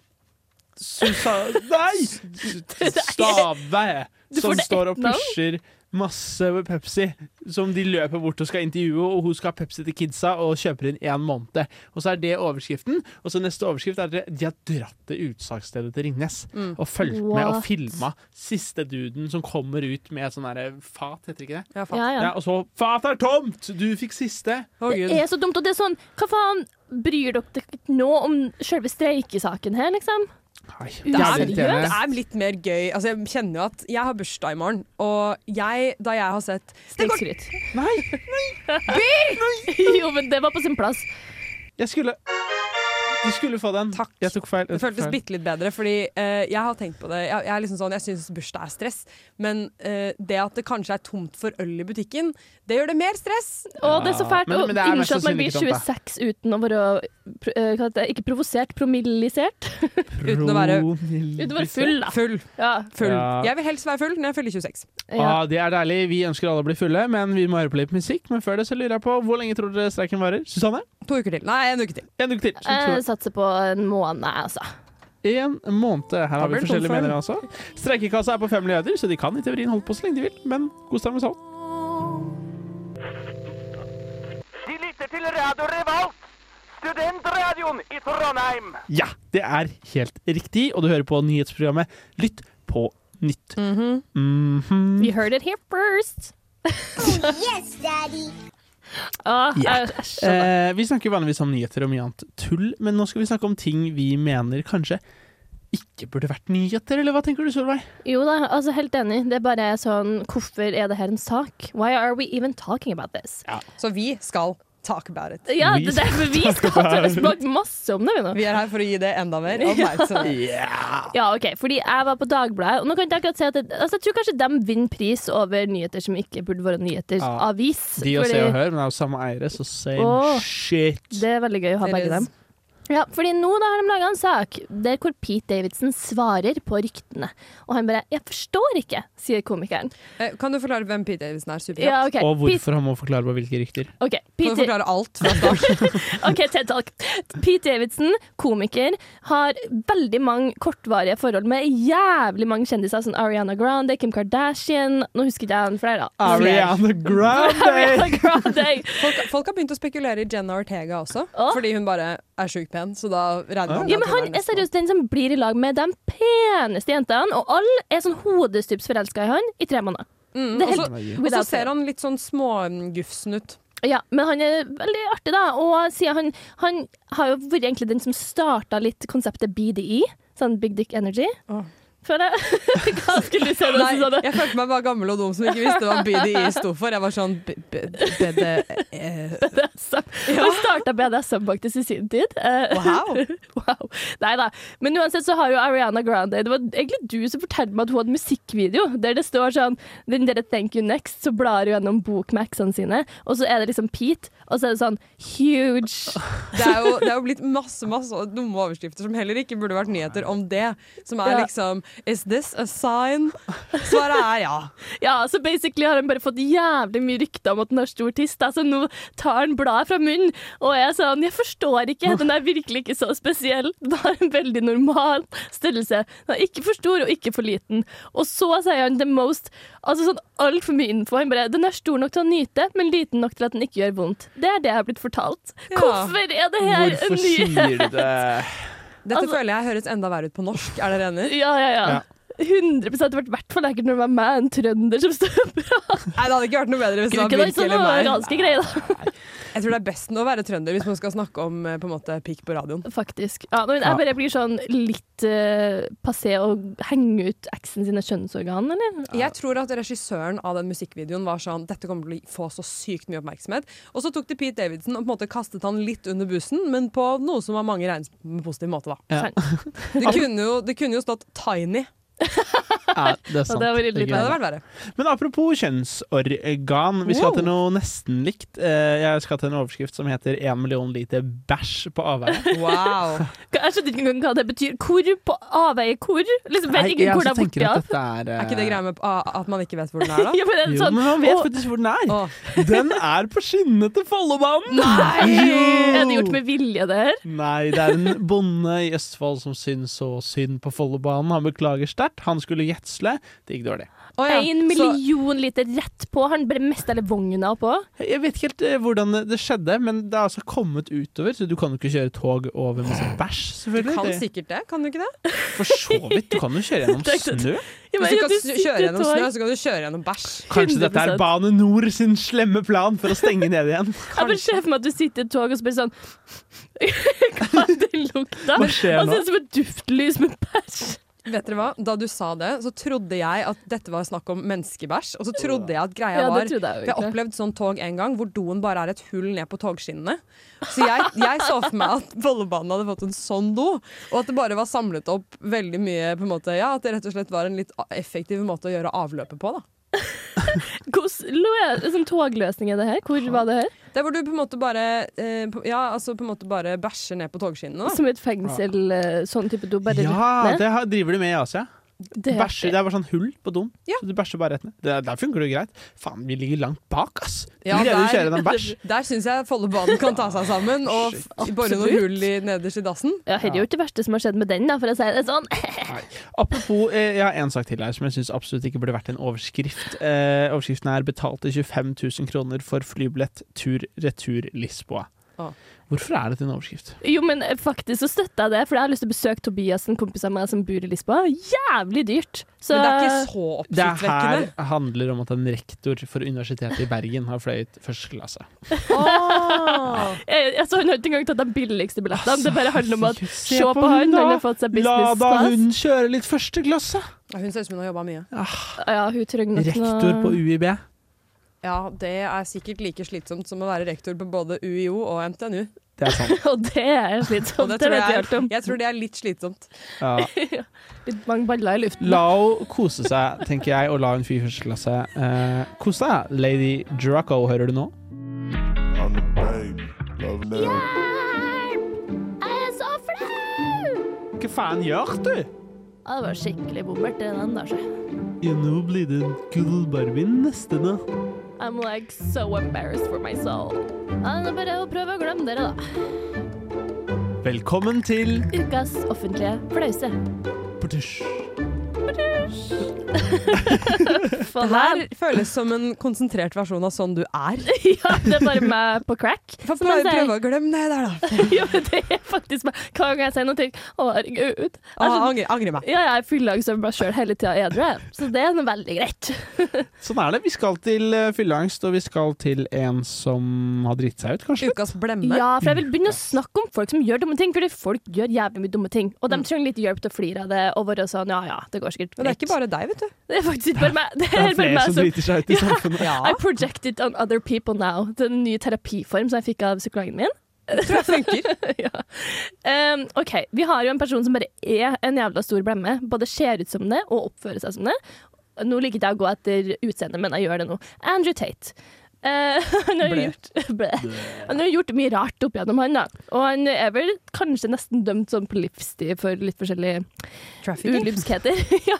Susa... Nei! Stave!
får [LAUGHS]
Som
det
står
ett
og
navn.
pusher masse Pepsi som de løper bort og skal intervjue, og hun skal ha Pepsi til kidsa og kjøper inn én måned. Og så er det overskriften. Og så neste overskrift er at de har dratt til utsalgsstedet til Ringnes
Mm.
og fulgt med og
What?
filma siste duden som kommer ut med sånn derre fat, heter det ikke det?
Ja, faen.
Ja, ja.
Ja, og så Fat er tomt! Du fikk siste.
Å, Gud.
Det er så dumt, og det er sånn Hva faen bryr dere dere nå om selve streikesaken her, liksom?
Nei,
Det er
Det er,
litt
det
irriterende.
er litt mer gøy. Altså, jeg kjenner jo at jeg har bursdag i morgen, og jeg, da jeg har sett det går,
Streikskryt.
Nei,
[LAUGHS] jo, men det var på sin plass.
jeg skulle Du skulle få den.
Takk.
Jeg tok feil.
Det
Jeg tok
føltes
feil.
bitte litt bedre, fordi eh, jeg har tenkt på det. Jeg, jeg, er liksom sånn, jeg syns bursdag er stress, men eh, det at det kanskje er tomt for øl i butikken, det gjør det mer stress.
Og det er så fælt
Men-
å
men det er mest
innse at man
sannsynlig
blir
ikke dumt,
26 uten å være pro- eh, hva heter det, ikke provosert, promillisert.
Uten å være
Uten å være full, da.
full.
Ja.
full.
Ja.
Jeg vil helst være full når jeg fyller 26.
ja.
Ah, det er deilig. Vi ønsker alle å bli fulle, men vi må høre på litt musikk. Men før det så lurer jeg på hvor lenge tror dere streiken varer? Susanne?
To uker til. Nei, en uke til.
En uke til. Så tror
Jeg satser på en måned, altså.
jeg- En måned. Her har vi
blir det tomt
forskjellige
for
meninger også. Streikekassa er på fem milliarder, så de kan i teorien holde på så lenge de vil. Men god stemning sånn.
De lytter til Radio Revolt, studentradioen i Trondheim.
Ja, det er helt riktig. Og du hører på nyhetsprogrammet Lytt på nytt. Mhm.
You heard it here first. [LAUGHS] yes, daddy.
Ja.
jeg, jeg skjønner.
Eh, vi snakker jo vanligvis om nyheter og mye annet tull, men nå skal vi snakke om ting vi mener kanskje ikke burde vært nyheter, eller hva tenker du, Solveig?
Jo da, altså helt enig. Det er bare sånn Hvorfor er det her en sak? Why are we even talking about this?
Så vi skal talk about it.
Ja,
Vi
det er derfor vi skal ha snakket masse om det. Vi nå.
Vi er her for å gi det enda mer
[LAUGHS]
oppmerksomhet.
Ja, ok, fordi jeg var på Dagbladet, og nå kan jeg ikke akkurat si at det, altså, jeg tror kanskje de vinner pris over nyheter som ikke burde være nyheter.
Ja.
Avis.
De og
fordi
Se og Hør, men det er jo samme eiere, så same
Åh.
shit.
Det er veldig gøy å ha
It
begge
is.
dem. Ja, fordi nå da har de laga en sak der hvor Pete Davidson svarer på ryktene. Og han bare 'Jeg forstår ikke', sier komikeren.
Eh, Kan du forklare hvem Pete Davidson er? Superkjapt.
Ja, ok,
Og
Pete,
hvorfor han må forklare på hvilke rykter.
ok,
Kan du
Pete,
forklare alt fra start?
ok, TED Talk. Pete Davidson, komiker, har veldig mange kortvarige forhold med jævlig mange kjendiser, som Ariana Grande, Kim Kardashian Nå husker ikke jeg han flere. da. [LAUGHS]
Ariana Grande!
Ariana Grande.
Folk, folk har begynt å spekulere i Jenna Ortega også,
Å.
fordi hun bare er sjukt pen. Så da regner
[LAUGHS]
man
Ja, men
med at hun
han er
nesten-
seriøst den som blir i lag med de peneste jentene, og alle er sånn hodestups forelska i han i tre måneder.
Mm,
det er
og så-
Nei,
Og så
Without
ser
fail.
han litt sånn smågufsen ut.
Ja, men han er veldig artig, da. Og siden han, han har jo vært egentlig den som starta litt konseptet BDE. Sånn Big Dick Energy.
Åh.
Føler jeg. [LAUGHS] Hva skulle du se nå,
Nei,
Susanne?
jeg følte meg bare gammel og dum som ikke visste hva BDI sto for. Jeg var sånn b- b- BD... eh,
BDSM. Han starta BDSM faktisk i sin tid. Eh,
Wow!
[LAUGHS] wow. Nei da. Men uansett så har jo Ariana Grande Det var egentlig du som fortalte meg at hun hadde musikkvideo der det står sånn Den derre Thank You Next, så blar hun gjennom bokmaxene sine, og så er det liksom Pete, og så er det sånn huge
Det er, jo, det er jo blitt masse masse dumme overskrifter som heller ikke burde vært nyheter om det. Som er
Ja.
liksom Is this a sign? Svaret er ja.
Ja, så basically har han bare fått jævlig mye rykter om at han har stor tiss, da, så altså, nå tar han bladet fra munnen og er sånn Jeg forstår ikke, den er virkelig ikke så spesiell. [LAUGHS] Den har en veldig normal størrelse. Den er ikke for stor og ikke for liten. Og så sier han the most Altså sånn altfor mye info. Han bare Den er stor nok til å nyte, men liten nok til at den ikke gjør vondt. Det er det jeg har blitt fortalt.
Ja.
Hvorfor er det her
Hvorfor
en ny
sier du det?
Dette
Altså-
føler jeg høres enda verre ut på norsk. Er dere enig?
[LAUGHS] Ja, ja, ja.
Ja.
100 Det hadde vært i hvert fall ekkelt når det var meg, en trønder, som står og prater.
Nei, Det hadde ikke vært noe bedre hvis det
Det
var
var
Birk eller meg.
ganske greie, da.
Jeg tror det er best å være trønder hvis man skal snakke om eh, på en måte pikk på radioen.
Faktisk. Ja, men jeg bare blir sånn litt eh, passé å henge ut eksen sine kjønnsorgan, eller?
Jeg tror at regissøren av den musikkvideoen var sånn Dette kommer til å få så sykt mye oppmerksomhet. Og så tok de Pete Davidson og på en måte kastet han litt under bussen, men på noe som av mange regnes på en positiv måte, da.
Sånn.
Ja.
Det kunne jo, det kunne jo stått Tiny.
Ja, det er sant.
var veldig
Det er
Det hadde
greit.
vært verre.
Men apropos kjønnsorgan, vi skal
Wow.
til noe nesten likt. Eh, Jeg skal til en overskrift som heter 1 million liter bæsj på avveie.
Wow.
Jeg skjønner ikke engang hva det betyr. Hvor på avveie hvor? Liksom, [LAUGHS] vet
Nei,
ikke hvor det er
altså
borti
tenker at
av.
dette er eh,
Er ikke det greia med ah, at man ikke vet hvor den er, da?
Eh. [LAUGHS] Ja, men det er
Jo,
sånn,
men man vet
og-
faktisk hvor den er.
Åh.
Den er på skinnene til Follobanen!
Nei! Er det gjort med vilje, det her?
Nei, det er en bonde i Østfold som syns så synd på Follobanen. Han beklager sterkt. Han skulle gjetsle. Det gikk dårlig.
Å ja,
En
så-
million liter rett på. Han ble mest hele vogna på.
Jeg vet ikke helt eh, hvordan det skjedde, men det er altså kommet utover, så du kan jo ikke kjøre tog over masse bæsj,
Du
selvfølgelig.
kan
Det-
sikkert det, kan du ikke det?
For så vidt. Du kan jo
[LAUGHS]
kjøre gjennom
Tenkte-
snø.
Hvis du kan s- kjøre gjennom snø, så kan du kjøre gjennom bæsj.
Kanskje dette er
100%.
Bane Nor sin slemme plan for å stenge ned igjen.
[LAUGHS]
Jeg bare ser for meg at du sitter i et tog og spør sånn [LAUGHS] Hva er det lukta?
Hva skjer
Han
nå?
ser ut som et duftlys med bæsj.
Vet dere hva? Da du sa det, så trodde jeg at dette var snakk om menneskebæsj. Og så trodde jeg at greia
Ja,
var
det trodde jeg
For
jo
jeg har
egentlig.
opplevd sånn tog en gang hvor doen bare er et hull ned på togskinnene. Så jeg, jeg så for meg at Vollebanen hadde fått en sånn do, og at det bare var samlet opp veldig mye på en måte, ja, At det rett og slett var en litt a- effektiv måte å gjøre avløpet på. da.
Hvordan lo- sånn togløsning er det her? Hvor var det her?
Det er hvor du på en måte bare eh, på, Ja, altså på en måte bare bæsjer ned på togskinnene. da.
Som i et fengsel, eh, sånn type do. Bare
Ja,
rett ned.
det har- driver de med i Asia.
Det er
Bæsjer, det er bare sånn hull på doen.
Ja.
Så du bæsjer bare rett ned. Det, der funker det jo greit. Faen, vi ligger langt bak, ass.
Ja,
vi greier å
der-
kjøre den bæsj.
[LAUGHS] Der syns jeg Follobanen kan ta seg
[LAUGHS]
sammen og f- bore noen
Absolutt.
hull i, nederst i dassen.
Ja, her er jo ikke det verste som har skjedd med den, da, for å si det sånn. [LAUGHS]
Apropos, eh, jeg har en sak til her som jeg syns absolutt ikke burde vært en overskrift. Eh, overskriften er 'Betalte 25 000 kroner for flybillett tur-retur Lisboa'.
Å.
Hvorfor er dette en overskrift?
Jo, men eh, faktisk så støtter jeg det, for jeg har lyst til å besøke Tobias, en kompis av meg som bor i Lisboa. Jævlig dyrt! Så
Men det er ikke så
Det her
oppsiktsvekkende.
handler om at en rektor for Universitetet i Bergen har fløyet første klasse.
Åh.
eh, altså, han har ikke engang tatt de billigste billettene. det bare handler om at
Altså, herregud,
se på han, han har fått seg
La
business
da
class.
hun kjøre litt første klasse!
[LAUGHS] Ja, Hun ser ut som hun har jobba mye.
Ja, hun trenger nok noe-
Rektor på UiB.
Ja, Det er sikkert like slitsomt som å være rektor på både UiO og NTNU.
Det er
[LAUGHS]
sant.
Og det er
Og
slitsomt,
det
det, vet
tror
jeg
jeg,
alt om. [LAUGHS]
jeg tror det er litt slitsomt.
Ja.
Litt mange baller i luften.
La henne kose seg, tenker jeg, og la en fyr i første klasse eh, kose seg. Lady Draco, hører du nå?
I'm the baby, love now.
Jeg er så flau!
Hva faen gjør du?
Ja, det var skikkelig bommert, det den der. så.
Ja, nå blir det Gullbarbien neste natt.
I'm like so embarrassed for my soul. Ja, det er bare å prøve å glemme dere, da.
Velkommen til
Ukas offentlige flause.
Portusj.
Det
Faen,
her føles som en konsentrert versjon av sånn du er. [LAUGHS]
[LAUGHS] Ja, det er bare meg på crack. [LAUGHS]
Få
Som jeg
prøve,
sier.
prøve å glemme det der, da.
Ja, men det er faktisk meg. Hver gang jeg sier noe, tenker jeg å herregud.
Å, angre, angre meg.
Ja, jeg er fylleangst over meg sjøl hele tida, edru. jeg. Så det er noe veldig greit.
Sånn er det. Vi skal til eh, fylleangst, og vi skal til en som har driti seg ut,
[LAUGHS]
kanskje.
Ukas blemme.
Ja, for jeg vil begynne å snakke om folk som gjør dumme ting, fordi folk gjør jævlig mye dumme ting. Og de trenger litt hjelp til å flire av det og være sånn ja ja, det går sikkert
Mm. Men det er ikke
greit.
bare deg, vet [LAUGHS] du.
Det er faktisk ikke bare meg. Det
Det
er
er
bare
flere
meg
som
som
driter seg ut i samfunnet.
Ja,
I project it on other people now. Det er en ny terapiform som jeg fikk av psykologen min.
det tror jeg funker.
[LAUGHS] ja. Ehm, OK. Vi har jo en person som bare er en jævla stor blemme. Både ser ut som det og oppfører seg som det. Nå liker ikke jeg å gå etter utseendet, men jeg gjør det nå. Andrew Tate. Eh, [LAUGHS] han, har
Bleh.
gjort, Bleh. han har gjort mye rart opp gjennom han, da. Og han er vel kanskje nesten dømt sånn på livstid for litt forskjellige
Trafficking.
ulymskheter. [LAUGHS] ja.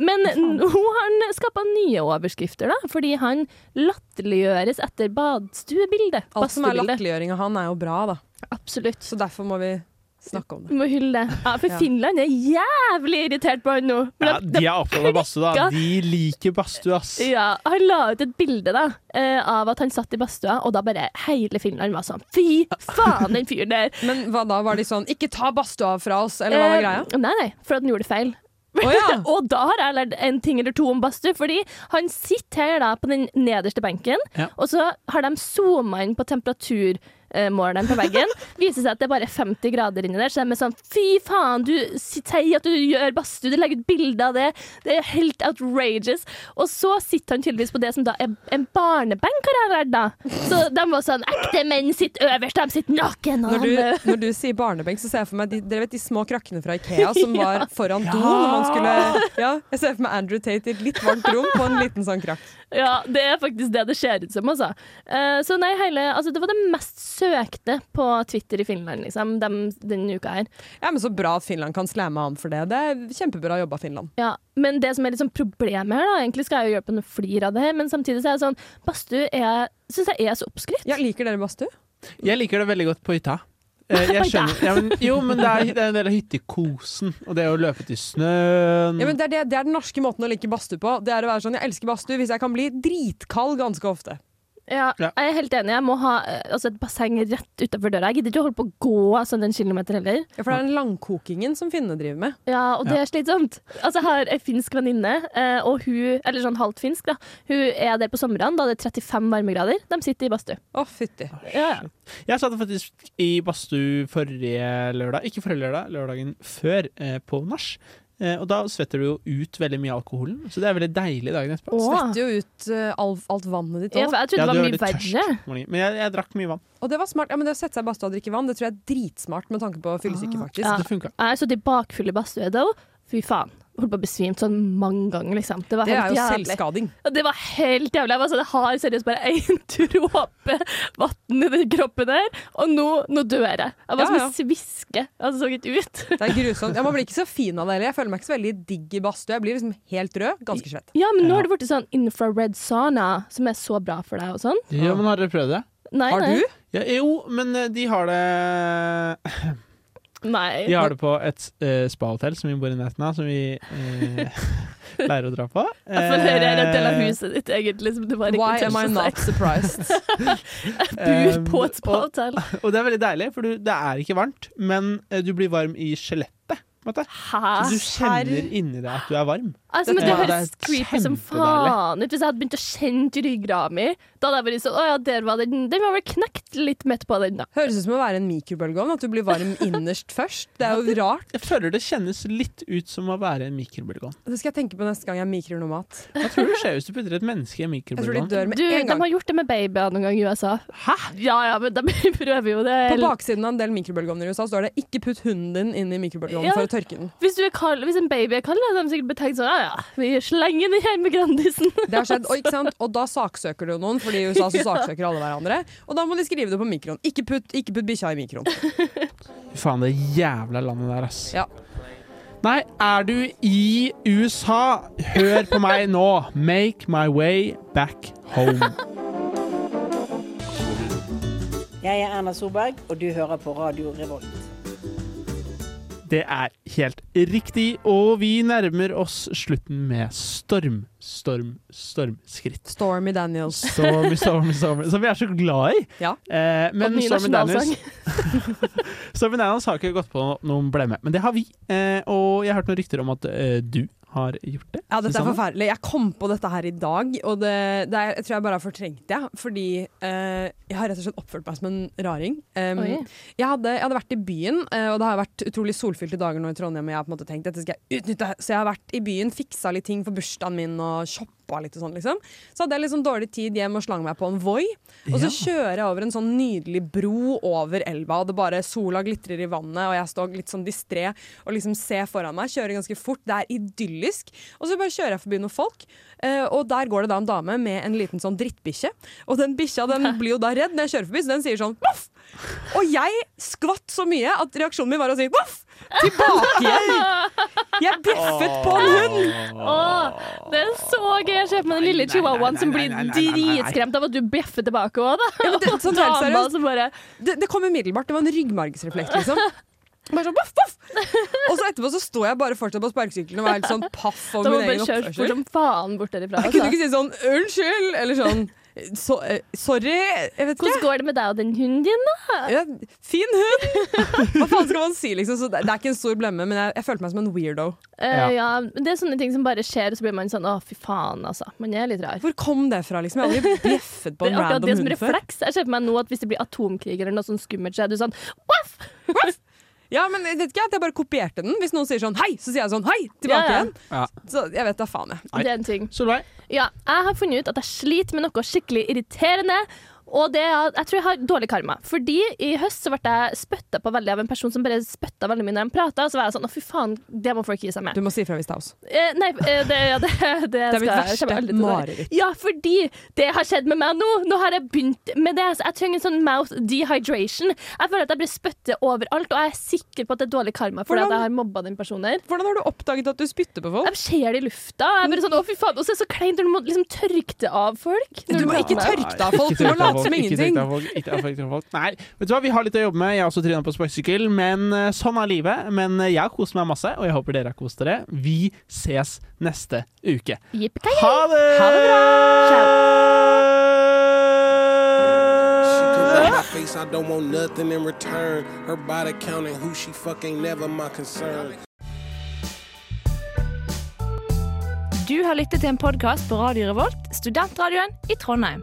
Men nå har han skapa nye overskrifter, da. Fordi han latterliggjøres etter badstuebildet.
Alt som er
Badstuebildet.
latterliggjøring av han, er jo bra, da.
Absolutt.
Så derfor må vi snakke om det.
Vi må hylle det. Ja, for
Ja.
Finland er jævlig irritert på han nå.
Ja,
Men
de er opptatt av badstue, da.
prikka.
De liker badstue, ass.
da- ja, han la ut et bilde da, eh, av at han satt i badstua, og da bare hele Finland var sånn Fy faen, den fyren der!
Men hva da? Var de sånn 'ikke ta badstua fra oss', eller hva var [LAUGHS] greia?
Eh, Nei, nei, for at han gjorde feil.
Å ja.
[LAUGHS] og da har jeg lært en ting eller to om badstue, fordi han sitter her da på den nederste benken,
Ja.
og så har de zooma inn på temperaturmåleren på
[LAUGHS]
veggen. Viser seg at det er bare 50 grader inni der, så de er sånn fy faen, du sier at du gjør badstue, du legger ut bilde av det, det er helt outrageous. Og så sitter han tydeligvis på det som da er en barnebenk, har jeg lært da. Så de var sånn ekte menn sitter øverst, de sitter naken. og
Når du,
han, eh,
når du sier barnebenk, så ser jeg for meg de, dere vet de små krakkene fra [LAUGHS] Ikea som var foran do når man skulle ja, Jeg ser for meg Andrew Tate i et litt varmt rom på en liten sånn krakk.
Ja, det er faktisk det det ser ut som, altså. Eh, så nei, hele, altså, det var det mest søkte på Twitter i Finland, liksom, dem, denne uka her.
Ja, men Så bra at Finland kan slamme han for det. Det er Kjempebra jobba, Finland.
Ja, men det som er liksom problemet her, da, egentlig skal jeg jo hjelpe henne å flire av det her, men samtidig så er det sånn, badstue er- synes jeg er så oppskrytt.
Ja, Liker dere badstue?
Jeg liker det veldig godt på hytta. Eh, Jeg
Nei, det er-
skjønner. Ja, men, jo, men det er, det er en del av hyttekosen, og det å løpe til snøen
Ja, men det, er det, det er den norske måten å like badstue på. Det er å være sånn, Jeg elsker badstue hvis jeg kan bli dritkald ganske ofte.
Ja, jeg er helt enig. Jeg må ha eh, altså, et basseng rett utenfor døra. Jeg gidder ikke å holde på å gå sånn en kilometer heller.
Ja, For det er den langkokingen som finnene driver med.
Ja, og det
Ja.
er slitsomt. Altså, jeg har ei finsk venninne, eh, og hun, eller sånn halvt finsk, da. Hun er der på somrene, da det er 35 varmegrader. De sitter i badstue.
Å, fytti.
Ja, ja.
Jeg satt faktisk i badstue forrige lørdag, ikke forrige lørdag, lørdagen før, eh, på nach. Eh, og da svetter du jo ut veldig mye av alkoholen, så det er veldig deilig dagen etterpå.
Svetter jo ut eh, alt, alt vannet ditt
Ja,
også.
for jeg trodde det
du
var
er
mye
veldig
verre.
tørst om morgenen. Men jeg, jeg drakk mye vann.
Og det var smart. Ja, men det å sette seg i badstua og drikke vann, det tror jeg er dritsmart med tanke på fyllesyke, faktisk.
Ah, Ja. Jeg har sittet bakfull i badstue da, og fy faen. Holdt på å besvime sånn mange ganger, liksom. Det, var
Det
helt
er jo
jævlig.
selvskading.
Ja, Det var helt jævlig. Jeg, var sånn, jeg har seriøst bare én [LAUGHS] dråpe vann i den kroppen her, og nå, nå dør jeg. Jeg var
Ja,
som
ja.
en sviske. Altså, så ikke ut. [LAUGHS]
Det er grusomt. Ja, man blir ikke så fin av det heller. Jeg føler meg ikke så veldig digg i badstue. Jeg blir liksom helt rød. Ganske svett.
Ja, men nå har det blitt sånn infrared sauna, som er så bra for deg og sånn.
Ja, men har dere prøvd det?
Nei, Har nei. du?
Ja, jo, men eh, de har det
Nei.
[LAUGHS] De har det på et eh, spahotell som vi bor i nærheten av, som vi eh, [LAUGHS] pleier å dra
[LAUGHS]
på.
Jeg får høre her en del av
Eh,
huset ditt, egentlig, som du bare ikke
Why am I not surprised? [LAUGHS]
Bor på et
Um,
spahotell.
Og, og det er veldig deilig, for du, det er ikke varmt, men eh, du blir varm i skjelettet. på en måte.
Hæ?
Så du kjenner inni deg at du er varm.
Altså, men Det
Ja,
høres
er
creepy som
kjempedeilig.
faen ut. Hvis jeg hadde begynt å kjenne ryggrada mi, da hadde jeg vært sånn Å ja, der var den. Den var vel knekt litt midt på den, da.
Høres ut som å være en mikrobølgeovn, at du blir varm innerst først. Det er jo rart.
Jeg føler det kjennes litt ut som å være en mikrobølgeovn.
Det skal jeg tenke på neste gang jeg mikrer noe mat.
Hva tror du skjer hvis du putter et menneske i
[LAUGHS]
en
Jeg tror de
mikrobølgeovn?
dør med
Du,
en
de
gang.
har gjort det med babyer noen gang i USA. Hæ? Ja ja, men de [LAUGHS] prøver jo det.
På baksiden av en del mikrobølgeovner i USA står det 'ikke putt hunden din inn i mikrobølgeovnen
Ja.
for å tørke den'.
Hvis, du er kald, hvis en baby er kald, da, så har de sikkert betenkt sånn Ja ja, vi slenger den hjemme Grandisen.
Det har
[LAUGHS]
skjedd, og, ikke sant? og da saksøker du noen, fordi i [LAUGHS] USA så saksøker alle hverandre. Og da må de skrive det på mikroen. Ikke putt, ikke putt bikkja i mikroen.
Fy faen, det jævla landet der, ass.
Ja.
Nei, er du i USA? Hør på meg nå. Make my way back home.
Jeg er Erna Solberg, og du hører på Radio Revolt.
Det er helt riktig, og vi nærmer oss slutten med storm, storm, stormskritt.
Stormy Daniels.
Stormy, stormy, stormy. Som vi er så glad i.
Ja.
Eh, men
Og ny
Stormy Daniels
nasjonalsang.
[LAUGHS] Stormy Daniels har ikke gått på noen blemme, men det har vi. Eh, og jeg har hørt noen rykter om at eh, du har gjort det.
Ja, dette er
Susanne.
forferdelig. Jeg kom på dette her i dag, og det, det er, jeg tror jeg bare har fortrengt det. Fordi eh, jeg har rett og slett oppført meg som en raring. Um,
Oi.
jeg, hadde, jeg hadde vært i byen, eh, og det har vært utrolig solfylte dager nå i Trondheim, og jeg har på en måte tenkt dette skal jeg utnytte. Så jeg har vært i byen, fiksa litt ting for bursdagen min og shoppa litt og sånn, liksom. Så hadde jeg litt sånn dårlig tid hjem og slang meg på en Voi, og så kjører jeg over en sånn nydelig bro over elva, og det bare sola glitrer i vannet, og jeg står litt sånn distré og liksom ser foran meg, kjører ganske fort, det er idyllisk. Og så bare kjører jeg forbi noen folk, eh, og der går det da en dame med en liten sånn drittbikkje. Og den bikkja den blir jo da redd når jeg kjører forbi, så den sier sånn voff! Og jeg skvatt så mye at reaksjonen min var å si voff! Tilbake igjen! Jeg bjeffet på en hund!
Åh, det er så gøy! Jeg ser på meg den lille chihuahuaen som blir dritskremt av at du bjeffer tilbake òg, da.
Ja, men det, sånn helt
Dama
seriøst.
som bare
det, det kom umiddelbart. Det var en ryggmargsrefleks, liksom. Bare sånn, boff, boff! Og så etterpå så sto jeg bare fortsatt på sparkesykkelen og var helt sånn paff
Da
over
må
min
bare
egen
kjøre fort
oppførsel.
som faen bort derifra. altså.
Jeg kunne ikke si sånn 'unnskyld' eller sånn så, eh, 'sorry'. Jeg vet ikke.
Hvordan går det med deg og den hunden din, da?
Ja, fin hund! Hva faen skal man si, liksom? Så det, det er ikke en stor blemme, men jeg, jeg følte meg som en weirdo.
Eh, ja, det er sånne ting som bare skjer, og så blir man sånn å, fy faen, altså. Man er litt rar.
Hvor kom det fra, liksom? Jeg har aldri bjeffet på
Det er
en
akkurat
random
det som
hund før.
refleks. Jeg ser for meg nå at hvis det blir atomkrig eller noe sånn skummelt, så er du sånn
Ja, men jeg vet ikke, at jeg bare kopierte den. Hvis noen sier sånn 'hei', så sier jeg sånn 'hei' tilbake
Ja, ja.
igjen. Så jeg vet da faen, jeg.
Det er en ting.
Solveig?
Ja, jeg har funnet ut at jeg sliter med noe skikkelig irriterende. Og det er, at jeg tror jeg har dårlig karma. Fordi i høst så ble jeg spytta på veldig av en person som bare spytta veldig mye når de prata. Så var jeg sånn å, fy faen, det må folk gi seg med.
Du må si ifra hvis det er oss.
Eh, nei, eh, det, ja, det, [LAUGHS] det,
Det er mitt
skal-
verste
kommer jeg aldri til å gjøre.
mareritt.
Ja, fordi det har skjedd med meg nå. Nå har jeg begynt med det. Så jeg trenger en sånn mouth dehydration. Jeg føler at jeg blir spyttet overalt, og jeg er sikker på at det er dårlig karma fordi
Hvordan-
at jeg har mobba den personen der.
Hvordan har du oppdaget at du spytter på folk?
Jeg ser det i lufta. Og jeg er bare sånn, å fy faen, og så er det så kleint når du må liksom tørke det av folk. når
Du må
prater
ikke
med dem.
tørke deg av folk, du må late
folk,
Som
ikke
ingenting.
trekk deg av folk, ikke affekt av folk. Nei, vet du hva, vi har litt å jobbe med. Jeg har også tryna på sparkesykkel, men eh, sånn er livet. Men eh, jeg har kost meg masse, og jeg håper dere har kost dere. Vi ses neste uke.
Yippee-ki-yay.
Ha det! Ha det bra!
Look in my face, I don't want nothing in return. Her body counting who she fuck ain't never my concern.
Du har lyttet til en podkast på Radio Revolt, studentradioen i Trondheim.